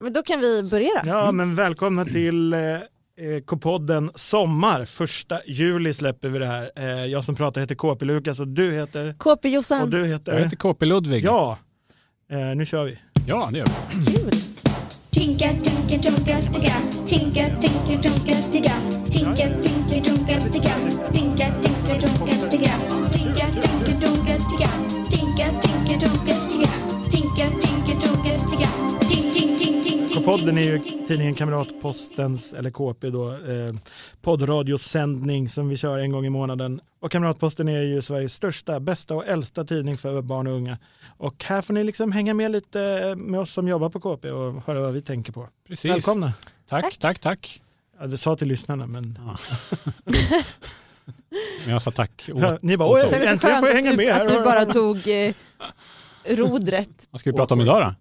Men då kan vi börja då. Mm. Ja, men välkomna till eh, eh, K-podden Sommar. Första juli släpper vi det här. Eh, jag som pratar heter KP-Lukas och du heter... KP Och Jossan, du Jag heter... heter KP Ludvig. Ja, eh, nu kör vi. ja det gör vi. kul! Tinka, tinka, tonka, tigga. Tinka, tinka, tonka, tigga. Tinka, tinka, tonka, tigga. Tinka, tinka, tonka, tigga. Tinka, tinka, tonka, tigga. Tinka, tinka, tonka, tigga. Tinka, tinka, tonka, tigga. Tink, tink, tink, tink, tink, K-podden är ju tink, tink. tidningen Kamratpostens, eller KP då, eh, poddradiosändning som vi kör en gång i månaden. Och Kamratposten är ju Sveriges största, bästa och äldsta tidning för barn och unga. Och här får ni liksom hänga med lite eh, med oss som jobbar på KP och höra vad vi tänker på. Precis. Välkomna! Tack. Tack, tack, tack. Ja, det sa till lyssnarna men... Men jag sa tack. åt- Ja, Ni bara åt oj, oss. Kändes äntligen så skönt får jag att hänga du, med här. att du bara tog eh, rodret. Vad ska vi prata om idag då?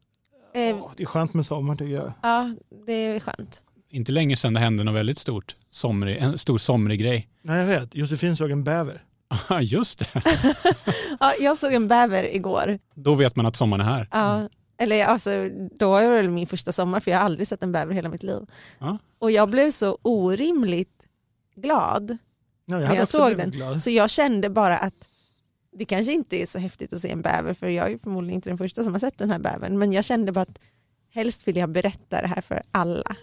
Eh, Åh, Det är skönt med sommar tycker jag. ja, det är skönt. Inte länge sedan det hände något väldigt stort. Somrig, en stor somrig grej. Nej jag vet, Josefin såg en bäver. Ja, just det. Ja, jag såg en bäver igår. Då vet man att sommaren är här. Ja, Eller alltså, då var det väl min första sommar för jag har aldrig sett en bäver i hela mitt liv. Ja. Och jag blev så orimligt glad Ja, när hade jag också såg blivit den. glad. Så jag kände bara att det kanske inte är så häftigt att se en bäver för jag är ju förmodligen inte den första som har sett den här bävern. Men jag kände bara att helst vill jag berätta det här för alla.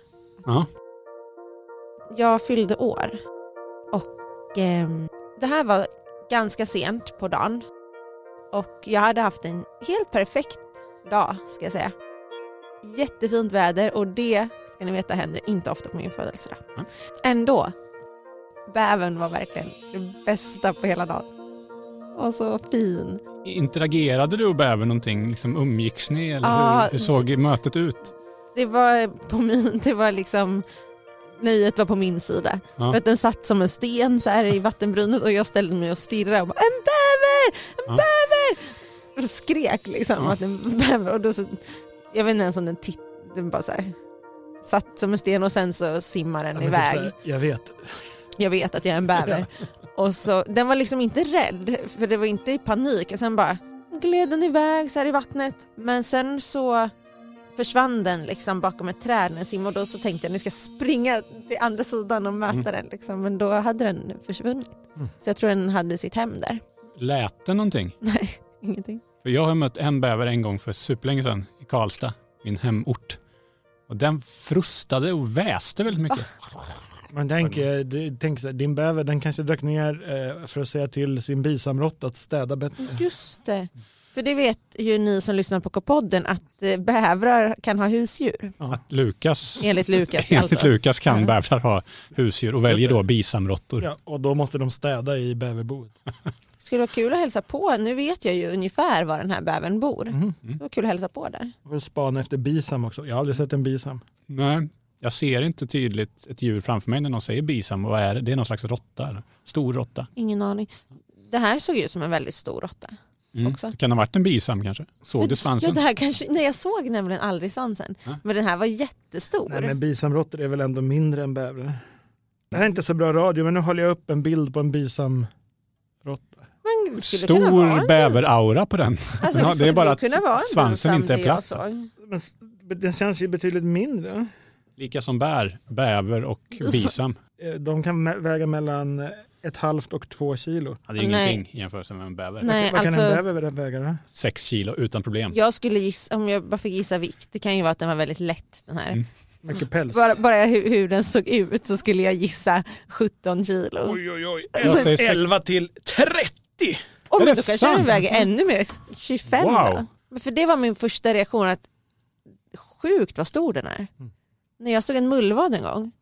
Ja. Jag fyllde år och ehm, det här var ganska sent på dagen och jag hade haft en helt perfekt dag ska jag säga. Jättefint väder och det ska ni veta händer inte ofta på min födelsedag. Mm. Ändå, bävern var verkligen det bästa på hela dagen. Och så fin. Interagerade du och bävern någonting? Liksom umgicks ni? Eller Ja. hur, hur såg mötet ut? Det var på min, det var liksom nöjet var på min sida. Ja. För att den satt som en sten så här i vattenbrynet och jag ställde mig och stirrade och bara en bäver, en Ja. bäver! Och skrek liksom Ja. att en bäver och då så, jag vet inte ens om den tittade, den bara så här satt som en sten och sen så simmar den Ja, men typ iväg. så här, Jag vet. Jag vet att jag är en bäver. Och så, den var liksom inte rädd för det var inte i panik och sen bara gled den iväg så här i vattnet. Men sen så försvann den liksom bakom ett träd när den simmade och då så tänkte jag nu ska jag springa till andra sidan och möta den liksom. Men då hade den försvunnit. Mm. Så jag tror den hade sitt hem där. Lät det någonting? Nej, ingenting. För jag har mött en bäver en gång för superlänge sedan i Karlstad, min hemort. Och den frustade och väste väldigt mycket. Man tänker, det- tänk så här, din bäver den kanske drack ner eh, för att säga till sin bisamrott att städa bättre. Just det. För det vet ju ni som lyssnar på K-podden att eh, bävrar kan ha husdjur. Att Lukas, Enligt Lukas enligt alltså. Lukas kan Ja. bävrar ha husdjur och väljer Just det. då Mm. bisamråttor. Ja, och då måste de städa i bäverboet. Skulle vara kul att hälsa på. Nu vet jag ju ungefär var den här bävern bor. Mm. Det var kul att hälsa på där. Och spana efter bisam också. Jag har aldrig sett en bisam. Nej, jag ser inte tydligt ett djur framför mig när någon säger bisam. Vad är det? Det är någon slags råtta, eller? stor råtta. Ingen aning. Det här såg ut som en väldigt stor råtta. Mm. Också. Det kan ha varit en bisam kanske. Såg du Ja, svansen? det här kanske, nej, jag såg nämligen aldrig svansen. Nej. Men den här var jättestor. Nej, men bisamråttor är väl ändå mindre än bävrar. Det här är inte så bra radio, men nu håller jag upp en bild på en bisamråtta. Man skulle kunna vara Stor en- bäveraura på den. Alltså, Ja, det är skulle bara att kunna vara en svansen bilsam, inte är det alltså. jag platt. såg. Men s- den känns ju betydligt mindre. Lika som bär, bäver och Så- bisam. Eh, De kan mä- väga mellan ett halvt och två kilo. Ja, det är Nej. ingenting i jämförelse med en bäver. Nej, Vad kan alltså, en bäver väga? då? Sex kilo utan problem. jag skulle gissa, om jag bara fick gissa vikt, det kan ju vara att den var väldigt lätt den här. Mm. Mycket päls. Bara, bara hur, hur den såg ut så skulle jag gissa 17 kilo. Oj, oj, oj. Jag säger sex- 11 till 30. Oh, Är men det då kanske sant? den väger ännu mer, 25 då. Wow. Men För det var min första reaktion att sjukt vad stor den är. Mm. När jag såg en mullvad en gång.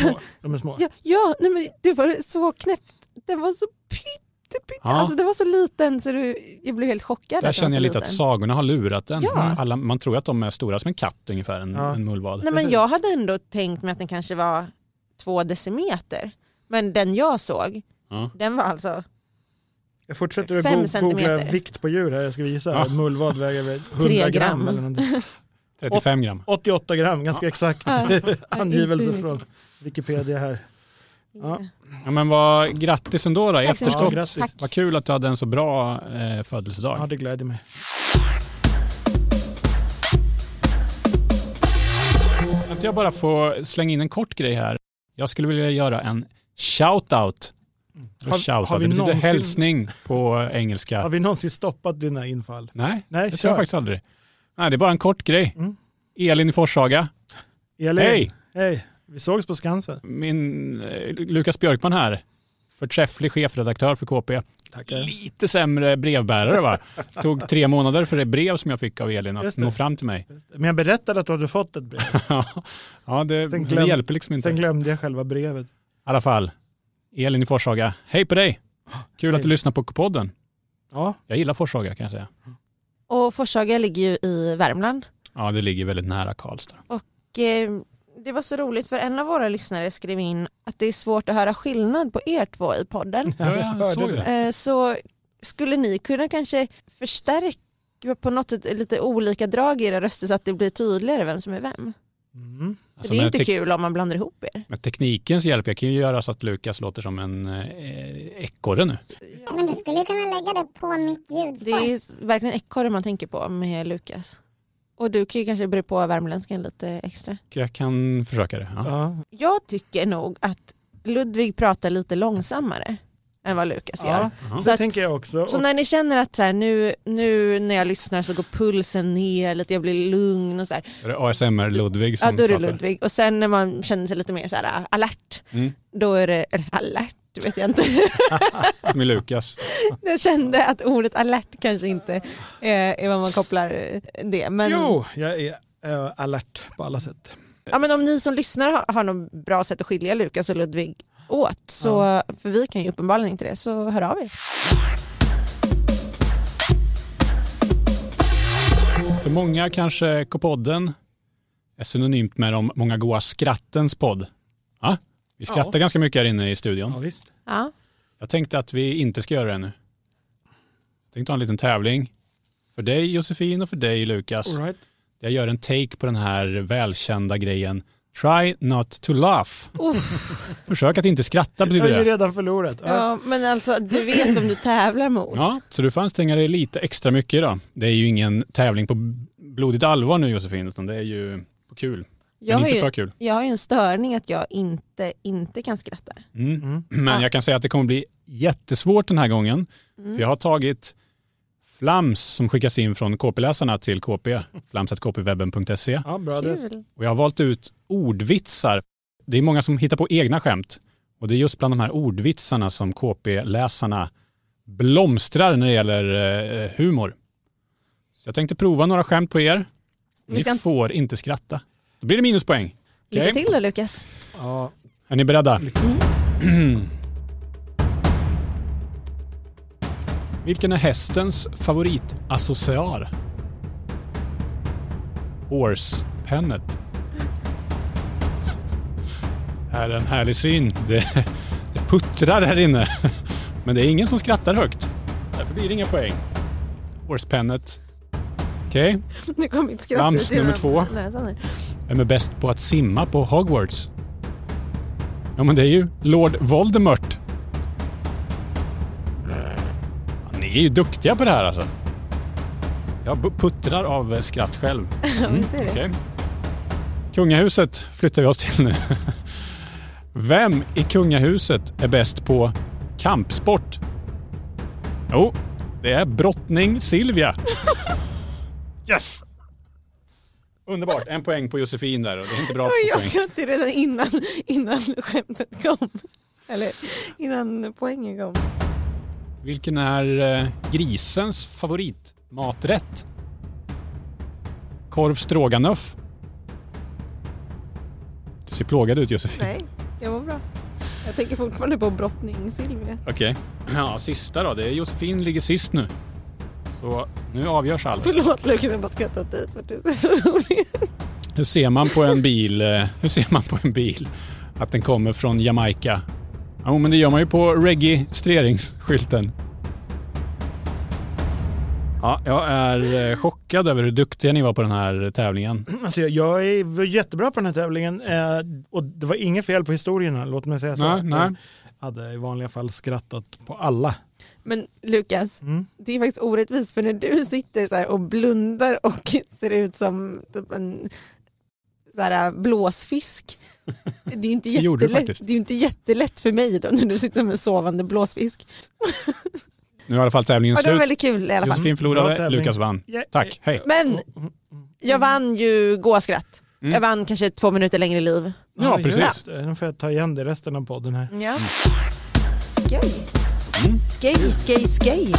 Små. De är små. Ja, ja nej men det var så knäppt. Den var så pytte, pytte. Ja. Alltså, den var så liten så du, jag blev helt chockad. Där att den känner jag var lite så att liten. sagorna har lurat en. Ja. Alla, man tror att de är stora som en katt ungefär, en, Ja. en mullvad. Nej, men jag hade ändå tänkt mig att den kanske var två decimeter. Men den jag såg, Ja. den var alltså Jag fortsätter att Fem go- googla centimeter. vikt på djur här. Jag ska visa. Ja. Mullvad väger väl 100 Tre gram. gram. eller någonting. 35 gram. 88 gram, ganska exakt inte angivelse mycket. från Wikipedia här. Ja. Ja, men vad, grattis ändå då i Tack så efterskott. mycket. Ja, grattis. Tack. Vad kul att du hade en så bra eh, ja, födelsedag. det gläder mig. inte jag bara få slänga in en kort grej här? Jag skulle vilja göra en shout-out. Har- shout har vi det betyder någonsin- hälsning på engelska. Har vi någonsin stoppat dina infall? Nej, Nej, det tror kör. jag faktiskt aldrig. Nej, det är bara en kort grej. Mm. Elin i Forshaga. Elin, Hej! Hej! Vi sågs på Skansen. Min eh, Lukas Björkman här. Förträfflig chefredaktör för KP. Tackar. Lite sämre brevbärare va? Tog tre månader för det brev som jag fick av Elin att Just det. nå fram till mig. Men jag berättade att du hade fått ett brev. ja, det, Sen det glöm- hjälper liksom inte. Sen glömde jag själva brevet. I alla fall, Elin i Forshaga. Hej på dig! Kul att Hej. du lyssnar på podden. Ja, Jag gillar Forshaga kan jag säga. Och Forshaga ligger ju i Värmland. Ja, det ligger väldigt nära Karlstad. Och, eh, det var så roligt för en av våra lyssnare skrev in att det är svårt att höra skillnad på er två i podden. Ja, jag jag hörde såg det. Eh, Så skulle ni kunna kanske förstärka på något sätt lite olika drag i era röster så att det blir tydligare vem som är vem? Mm. För Alltså, det är med inte tek- kul om man blandar ihop er. Med teknikens hjälp, jag kan ju göra så att Lukas låter som en eh, ekorre nu. Ja, men du skulle ju kunna lägga det på mitt Det ljudspår. är s- verkligen ekorre man tänker på med Lukas. Och du kan ju kanske bre på värmländskan lite extra. Jag kan försöka det. Ja. Ja. Jag tycker nog att Ludvig pratar lite långsammare än vad Lukas gör. ja. Ja. Så det att- tänker jag också. Så Och- när ni känner att så här, nu, nu när jag lyssnar så går pulsen ner lite, jag blir lugn och så här. Är det ASMR-Ludvig som Ja, då är det pratar? Ludvig. Och sen när man känner sig lite mer så här, alert, Mm. då är det, eller alert vet jag inte. Som är Lukas. Jag kände att ordet alert kanske inte eh, är vad man kopplar eh, det. Men, Jo, jag är eh, alert på alla sätt. ja, men om ni som lyssnar har, har något bra sätt att skilja Lukas och Ludvig åt, så, för vi kan ju uppenbarligen inte det, så hör av er. För många kanske K-podden är synonymt med de många goa skrattens podd. Ja, vi skrattar ganska mycket här inne i studion. Ja, visst. Ja. Jag tänkte att vi inte ska göra det nu. Jag tänkte ha en liten tävling. För dig Josefin och för dig Lukas. All right. Jag gör en take på den här välkända grejen. Try not to laugh. Uff, Försök att inte skratta Jag betyder har ju det. redan förlorat. Ja. ja, men alltså du vet vem du tävlar mot. Ja, så du får anstränga dig lite extra mycket idag. Det är ju ingen tävling på blodigt allvar nu Josefin, utan det är ju på kul. jag, men har inte för ju, kul. jag har ju en störning att jag inte, inte kan skratta. Mm. Mm. Men Ja. Mm. jag kan säga att det kommer bli jättesvårt den här gången. För jag har tagit flams som skickas in från KP-läsarna till KP, flams.kpwebben.se. Ja, bra adress. Kul. Och jag har valt ut ordvitsar. Det är många som hittar på egna skämt. Och det är just bland de här ordvitsarna som KP-läsarna blomstrar när det gäller eh, humor. Så jag tänkte prova några skämt på er. Vi Ni ska- får inte skratta. Då blir det minuspoäng. Lycka Okej. till då Lukas. Ja. Är ni beredda? Vilken är hästens favoritassociar? Horsepennet. Det här är en härlig syn. Det, det puttrar här inne. Men det är ingen som skrattar högt. Så därför blir det inga poäng. Horsepennet. Okej, Nu kom mitt skratt Rams ut genom nummer två. näsan här. vem är bäst på att simma på Hogwarts? Ja, men det är ju Lord Voldemort. Ja, ni är ju duktiga på det här alltså. Jag bu- puttrar av eh, skratt själv. Mm, ser det. Okej. Kungahuset flyttar vi oss till nu. Vem i kungahuset är bäst på kampsport? Jo, det är brottning Silvia. Yes! Underbart, en poäng på Josefin där och det är inte bra på Oj, Jag poäng. skrattade ju redan innan, innan skämtet kom. Eller innan poängen kom. Vilken är eh, grisens favoritmaträtt? Korv stroganoff. Du ser plågad ut Josefin. Nej, jag var bra. Jag tänker fortfarande på brottning Silvia. Okej. Ja, sista då. Det är Josefin ligger sist nu. Så nu avgörs allt. Förlåt Lukas, jag bara skrattar åt dig för att du är så rolig. Hur ser man på en bil, eh, hur ser man på en bil att den kommer från Jamaica? Jo, men det gör man ju på registreringsskylten. Ja, jag är eh, chockad över hur duktiga ni var på den här tävlingen. Alltså, jag- jag är var jättebra på den här tävlingen eh, och det var inget fel på historierna, låt mig säga så. Nej, nej. Jag hade i vanliga fall skrattat på alla. Men Lukas, Mm. det är faktiskt orättvist för när du sitter så här och blundar och ser ut som typ en så här, blåsfisk. Det är ju inte Det gjorde du jättelätt, faktiskt. det är ju inte jättelätt för mig då när du sitter med en sovande blåsfisk. Nu är i alla fall tävlingen Ja, det var slut. väldigt kul i alla fall. Josefin Bra förlorade, tävling. Lukas vann. Ja, Tack, hej. Men jag vann ju gåskratt. Mm. Jag vann kanske två minuter längre liv. Ja, precis. just det. Nu får jag ta igen det i resten av podden här. Ja. Skoj. Skoj, skoj, skoj.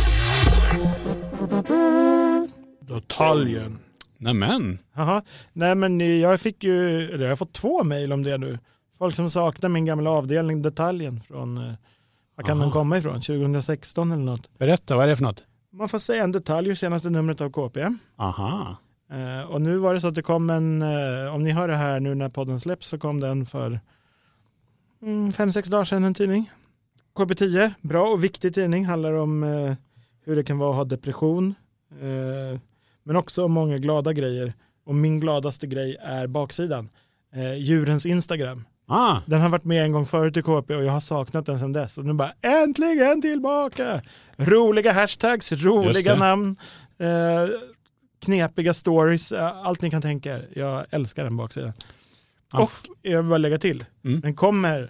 Detaljen. Nämen. Jaha. Nej men eh, jag fick ju, eller jag har fått två mejl om det nu. Folk som saknar min gamla avdelning Detaljen från, eh, var kan den komma ifrån? 2016 eller något. Berätta, vad är det för något? Man får säga en detalj ur senaste numret av KP. Aha. Eh, och nu var det så att det kom en, eh, om ni hör det här nu när podden släpps så kom den för mm, fem, sex dagar sedan en tidning. KB10, bra och viktig tidning, handlar om eh, hur det kan vara att ha depression. Eh, men också om många glada grejer. Och min gladaste grej är baksidan. Eh, djurens Instagram. Ah, Den har varit med en gång förut i KP och jag har saknat den sedan dess. Och nu bara äntligen tillbaka! Roliga hashtags, Just det. roliga namn, eh, knepiga stories, eh, allt ni kan tänka er. Jag älskar den baksidan. Ja. Och jag vill bara lägga till, Mm. den kommer,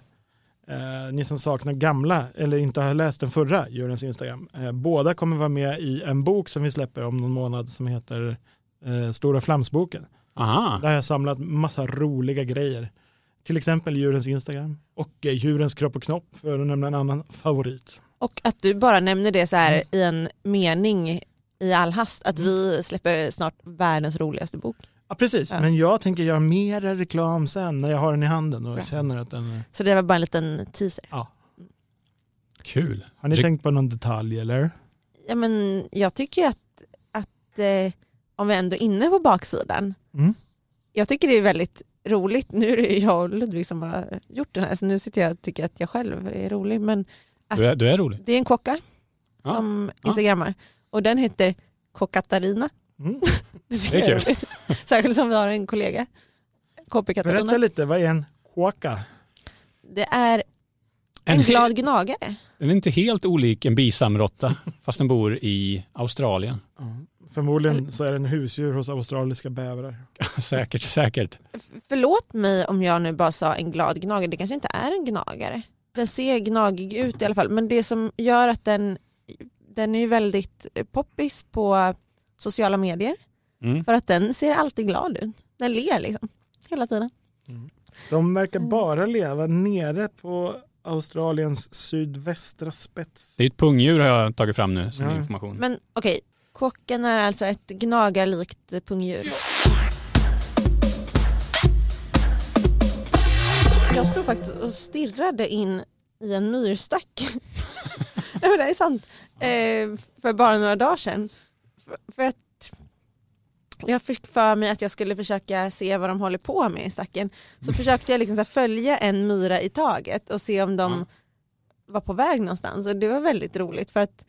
eh, ni som saknar gamla eller inte har läst den förra Djurens Instagram, eh, båda kommer vara med i en bok som vi släpper om någon månad som heter eh, Stora Flamsboken. aha. Där har jag samlat massa roliga grejer. Till exempel djurens Instagram och eh, djurens kropp och knopp för att nämna en annan favorit. Och att du bara nämner det så här i en mening i all hast, att vi släpper snart världens roligaste bok. Ja, precis, Ja. men jag tänker göra mer reklam sen när jag har den i handen och Bra. känner att den... eh, är- Så det var bara en liten teaser. Kul. Har ni Re- tänkt på någon detalj eller? Ja, men jag tycker ju att, att eh, om vi ändå är inne på baksidan, Mm. jag tycker det är väldigt roligt, nu är det ju jag och Ludvig som har gjort den här så nu sitter jag och tycker att jag själv är rolig, men Du är, du är rolig. det är en kocka Ja. som Ja. instagrammar och den heter Kockatarina. Mm. Det, tycker Det är jag roligt. Särskilt som vi har en kollega, KP Berätta Katarina. lite, vad är en kåka? Det är en glad gnagare. Den är inte helt olik en bisamrotta fast den bor i Australien. Förmodligen så är den husdjur hos australiska bävrar. säkert, säkert. F- Förlåt mig om jag nu bara sa en glad gnagare, det kanske inte är en gnagare. Den ser gnagig ut i alla fall, men det som gör att den, den är ju väldigt poppis på sociala medier Mm. för att den ser alltid glad ut. Den ler liksom hela tiden. De verkar bara leva nere på Australiens sydvästra spets. Det är ett pungdjur har jag tagit fram nu som Ja. information. Men okej, kocken är alltså ett gnagarlikt pungdjur. Jag stod faktiskt och stirrade in i en myrstack. Nej, men det här är sant. Eh, för bara några dagar sedan. För, för att jag fick för mig att jag skulle försöka se vad de håller på med i stacken. Så försökte jag liksom så här följa en myra i taget och se om de Ja. var på väg någonstans. Och det var väldigt roligt för att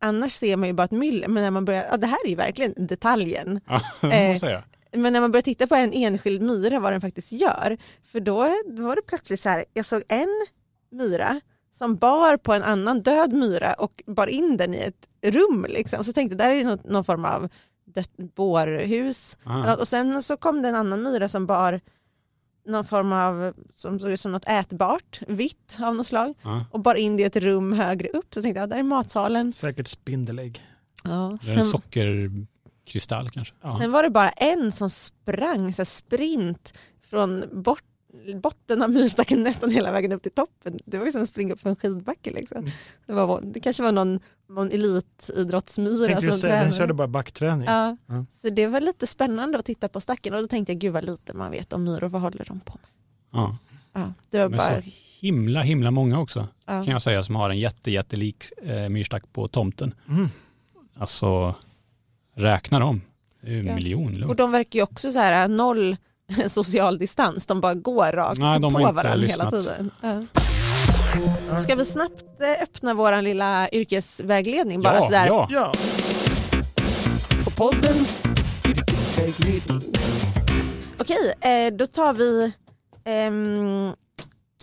annars ser man ju bara ett myller. Men när man börjar, ja, det här är ju verkligen detaljen Ja, det får man Eh, säga. men när man börjar titta på en enskild myra vad den faktiskt gör, för då då var det plötsligt så här, jag såg en myra som bar på en annan död myra och bar in den i ett rum liksom. Så tänkte där är det något, någon form av dött bårhus. Ah. Och sen så kom det en annan myra som bar någon form av, som såg ut som något ätbart, vitt av något slag Ja. och bar in det i ett rum högre upp. Så tänkte jag, där är matsalen. Säkert spindelägg. Det är en sockerkristall kanske. Ja. Sen var det bara en som sprang så här sprint från bort, botten av myrstacken nästan hela vägen upp till toppen. Det var ju som att springa upp för en skidbacke. Liksom. Mm. Det, var, det kanske var någon, någon elitidrottsmyra Tänkte du som säga, den tränade. körde bara backträning. Ja. Ja. Så det var lite spännande att titta på stacken och då tänkte jag gud vad lite man vet om myror, vad håller de på med? Ja. Ja, det var Men bara, så himla, himla många också ja. kan jag säga som har en jätte, jättelik eh, myrstack på tomten. Mm. Alltså, räkna dem. Det är ju en Ja. miljon lugnt. Och de verkar ju också så här äh, noll social distans, de bara går rakt Nej, de på har inte varandra lyssnat. hela tiden. Ja. Ska vi snabbt eh, öppna vår lilla yrkesvägledning bara ja, sådär? ja. Ja, På poddens Okej, eh, då tar vi ehm,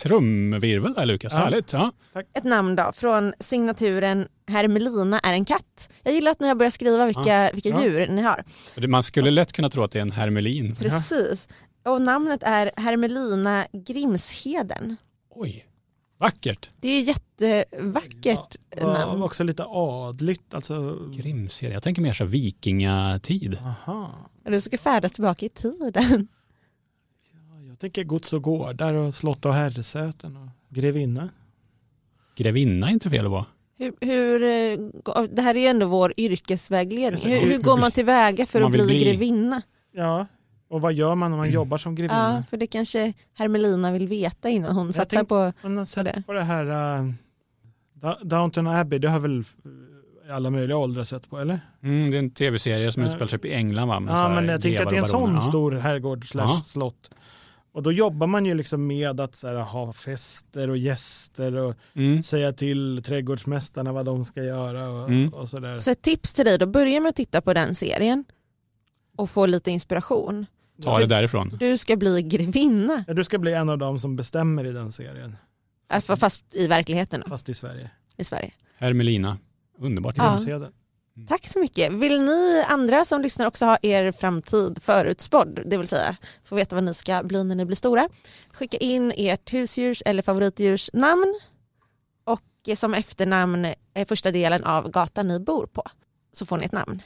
Trumvirvel där Lukas, Ja. härligt. Ja. ett namn då från signaturen Hermelina är en katt. Jag gillar att ni har börjat skriva vilka, vilka Ja. djur ni har. För det- Man skulle lätt kunna tro att det är en hermelin. Precis. Och namnet är Hermelina Grimsheden. Oj, vackert. Det är jättevackert Var namn. också lite adligt. Alltså, Grimserie. Jag tänker mer så här vikingatid. aha. Och Du ska färdas tillbaka i tiden. Jag tänker gods och gårdar och slott och herresäten och grevinna. Grevinna är inte fel att vara. Hur, hur, eh, gå- det här är ju ändå vår yrkesvägledning. Just det. Hur, hur går man tillväga för Man att vill bli, bli. grevinna? Ja, och vad gör man om man jobbar som Ja, grevinna? för det kanske Hermelina vill veta innan hon satsar tänkte- på... Man har det. sett på det här eh, Da- Downton Abbey, det har väl eh, alla möjliga åldrar sett på eller? Mm, det är en tv-serie som Ja. utspelar sig i England va? Med så Ja här men jag tänker att det är en grevar och sån baroner. stor herrgård slash Ja. slott. Och då jobbar man ju liksom med att så här, ha fester och gäster och Ja. Mm. säga till trädgårdsmästarna vad de ska göra och, Mm. och sådär. Så ett tips till dig då, börja med att titta på den serien och få lite inspiration. Ta det därifrån. Du ska bli grevinna, Ja, du ska bli en av dem som bestämmer i den serien, alltså, fast i verkligheten då, fast i Sverige. i Sverige. Hermelina. Underbart. Ja. Grimsheden. Tack så mycket. Vill ni andra som lyssnar också ha er framtid förutspådd, det vill säga få veta vad ni ska bli när ni blir stora, skicka in ert husdjurs eller favoritdjurs namn och eh, som efternamn eh, första delen av gatan ni bor på, så får ni ett namn.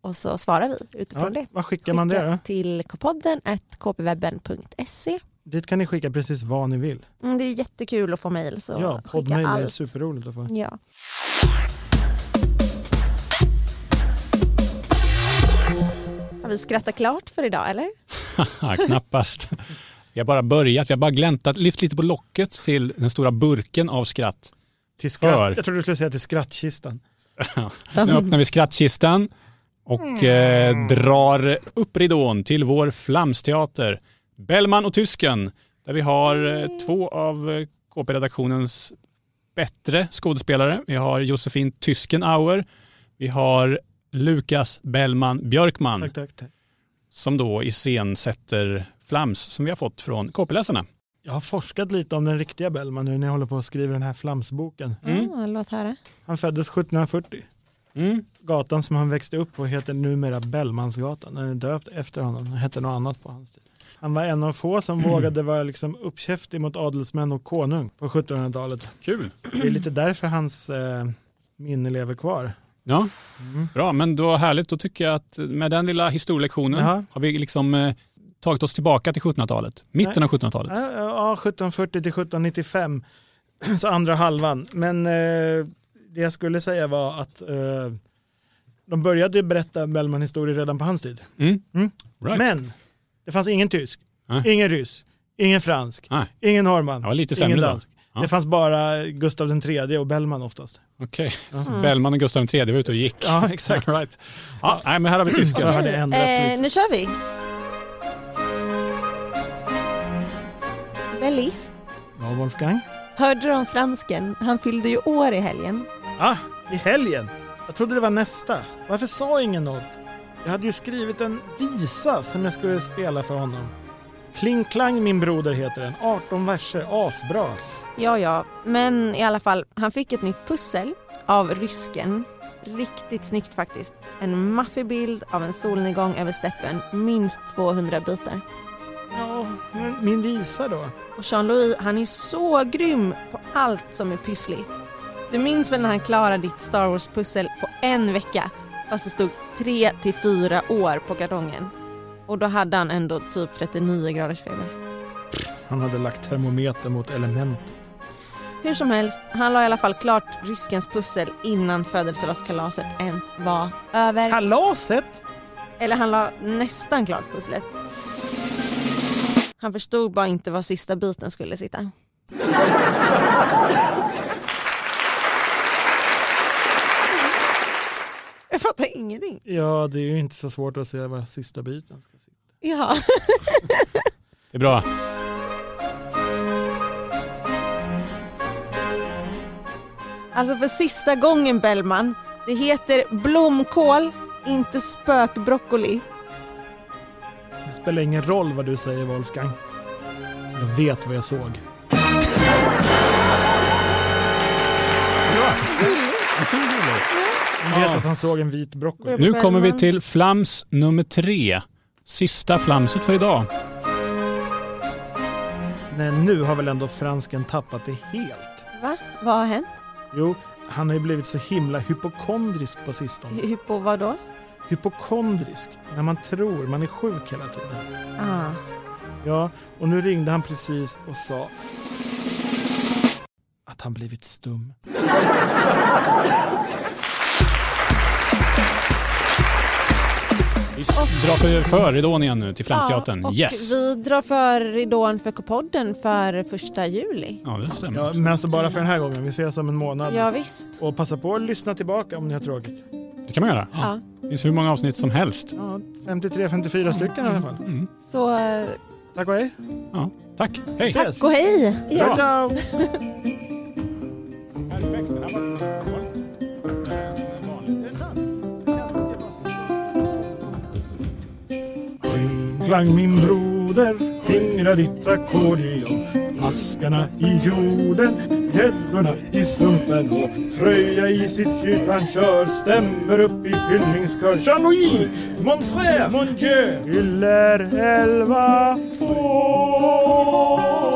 Och så svarar vi utifrån Ja, det. vad skickar man det då? till kpodden at kpwebben.se. Dit kan ni skicka precis vad ni vill. Mm, det är jättekul att få mejl. så Ja, skicka poddmail är allt. superroligt att få. Ja. Har vi skrattat klart för idag eller? Ja, knappast. Vi har bara börjat, vi har bara gläntat, lyft lite på locket till den stora burken av skratt. Till För. skratt. Jag trodde du skulle säga till skrattkistan. Nu öppnar vi skrattkistan och eh, drar upp ridån till vår flamsteater, Bellman och tysken, där vi har eh, två av eh, KP-redaktionens bättre skådespelare. Vi har Josefin Tyskenauer, vi har Lukas Bellman Björkman Tack, tack, tack. som då iscensätter flams som vi har fått från KP-läsarna. Jag har forskat lite om den riktiga Bellman nu när jag håller på att skriva den här flamsboken. Mm. Ah, låt höra. Han föddes 1740. Mm. Gatan som han växte upp på heter numera Bellmansgatan. Den är döpt efter honom. Den hette något annat på hans tid. Han var en av få som vågade vara liksom uppkäftig mot adelsmän och konung på 1700-talet. Kul! Det är lite därför hans eh, minne lever kvar. Ja, Mm. bra. Men då härligt. Då tycker jag att med den lilla historielektionen Jaha. har vi liksom eh, tagit oss tillbaka till 1700-talet. Mitten av 1700-talet. Ja, ja, 1740 till 1795, så andra halvan. Men eh, det jag skulle säga var att eh, de började ju berätta Bellman-historier redan på hans tid. Mm. Mm. Right. Men det fanns ingen tysk, Nej. ingen ryss, ingen fransk, Nej, ingen norrman, det var lite ingen sämre då. dansk. Ja. Det fanns bara Gustav III och Bellman oftast. Okej, Så Bellman och Gustav III var ute och gick. Ja, exakt. right. ja, nej, men här har vi tysken. Så har det ändrats Eh, lite. nu kör vi. Bellis, Ja, Wolfgang. hörde du om fransken? Han fyllde ju år i helgen. Ah, i helgen. Jag trodde det var nästa. Varför sa ingen något? Jag hade ju skrivit en visa som jag skulle spela för honom. Kling Klang min broder heter den. 18 verser, asbra. Ja, ja, men i alla fall, han fick ett nytt pussel av rysken. Riktigt snyggt faktiskt. En maffig bild av en solnedgång över steppen, minst 200 bitar. Ja, men min visa då? Och Jean-Louis, han är så grym på allt som är pyssligt. Du minns väl när han klarade ditt Star Wars-pussel på en vecka fast det stod 3 till 4 år på gardongen. Och då hade han ändå typ 39 graders feber. Han hade lagt termometer mot element. Hur som helst, han la i alla fall klart ryskens pussel innan födelsedagskalaset ens var över. Kalaset! Eller han la nästan klart pusslet. Han förstod bara inte var sista biten skulle sitta. Jag fattar ingenting. Ja, det är ju inte så svårt att se var sista biten ska sitta. Ja. Det är bra. Alltså för sista gången Bellman. Det heter blomkål, inte spökbroccoli. Det spelar ingen roll vad du säger Wolfgang. Jag vet vad jag såg. Jag vet att han såg en vit broccoli. Nu kommer vi till flams nummer tre. Sista flamset för idag. Nej, nu har väl ändå fransken tappat det helt. Va? Vad har hänt? Jo, han har ju blivit så himla hypokondrisk på sistone. Hy- Hypo vadå? Hypokondrisk, när man tror man är sjuk hela tiden. Ah. Ja, och nu ringde han precis och sa att han blivit stum. Vi drar för, för ridån igen nu till Friends-teatern. Ja, och yes! Vi drar för ridån för K-podden för första juli. Ja, det stämmer. Ja, men alltså bara för den här gången. Vi ses om en månad. Ja, visst. Och passa på att lyssna tillbaka om ni har tråkigt. Det kan man göra. Ja. Det finns hur många avsnitt som helst. Ja, 53-54 stycken i alla fall. Mm. Så eh, Tack och hej. Ja. Tack, hej! tack och hej! Ciao, ciao. Perfekt, den här var Kling, klang min broder, skingra ditt ackordion. Askarna i jorden, gäddorna i sumpen och Fröja i sitt djup han kör, stämmer upp i hyllningskör. Jean-Louis, mon frère, mon dieu, fyller elva år.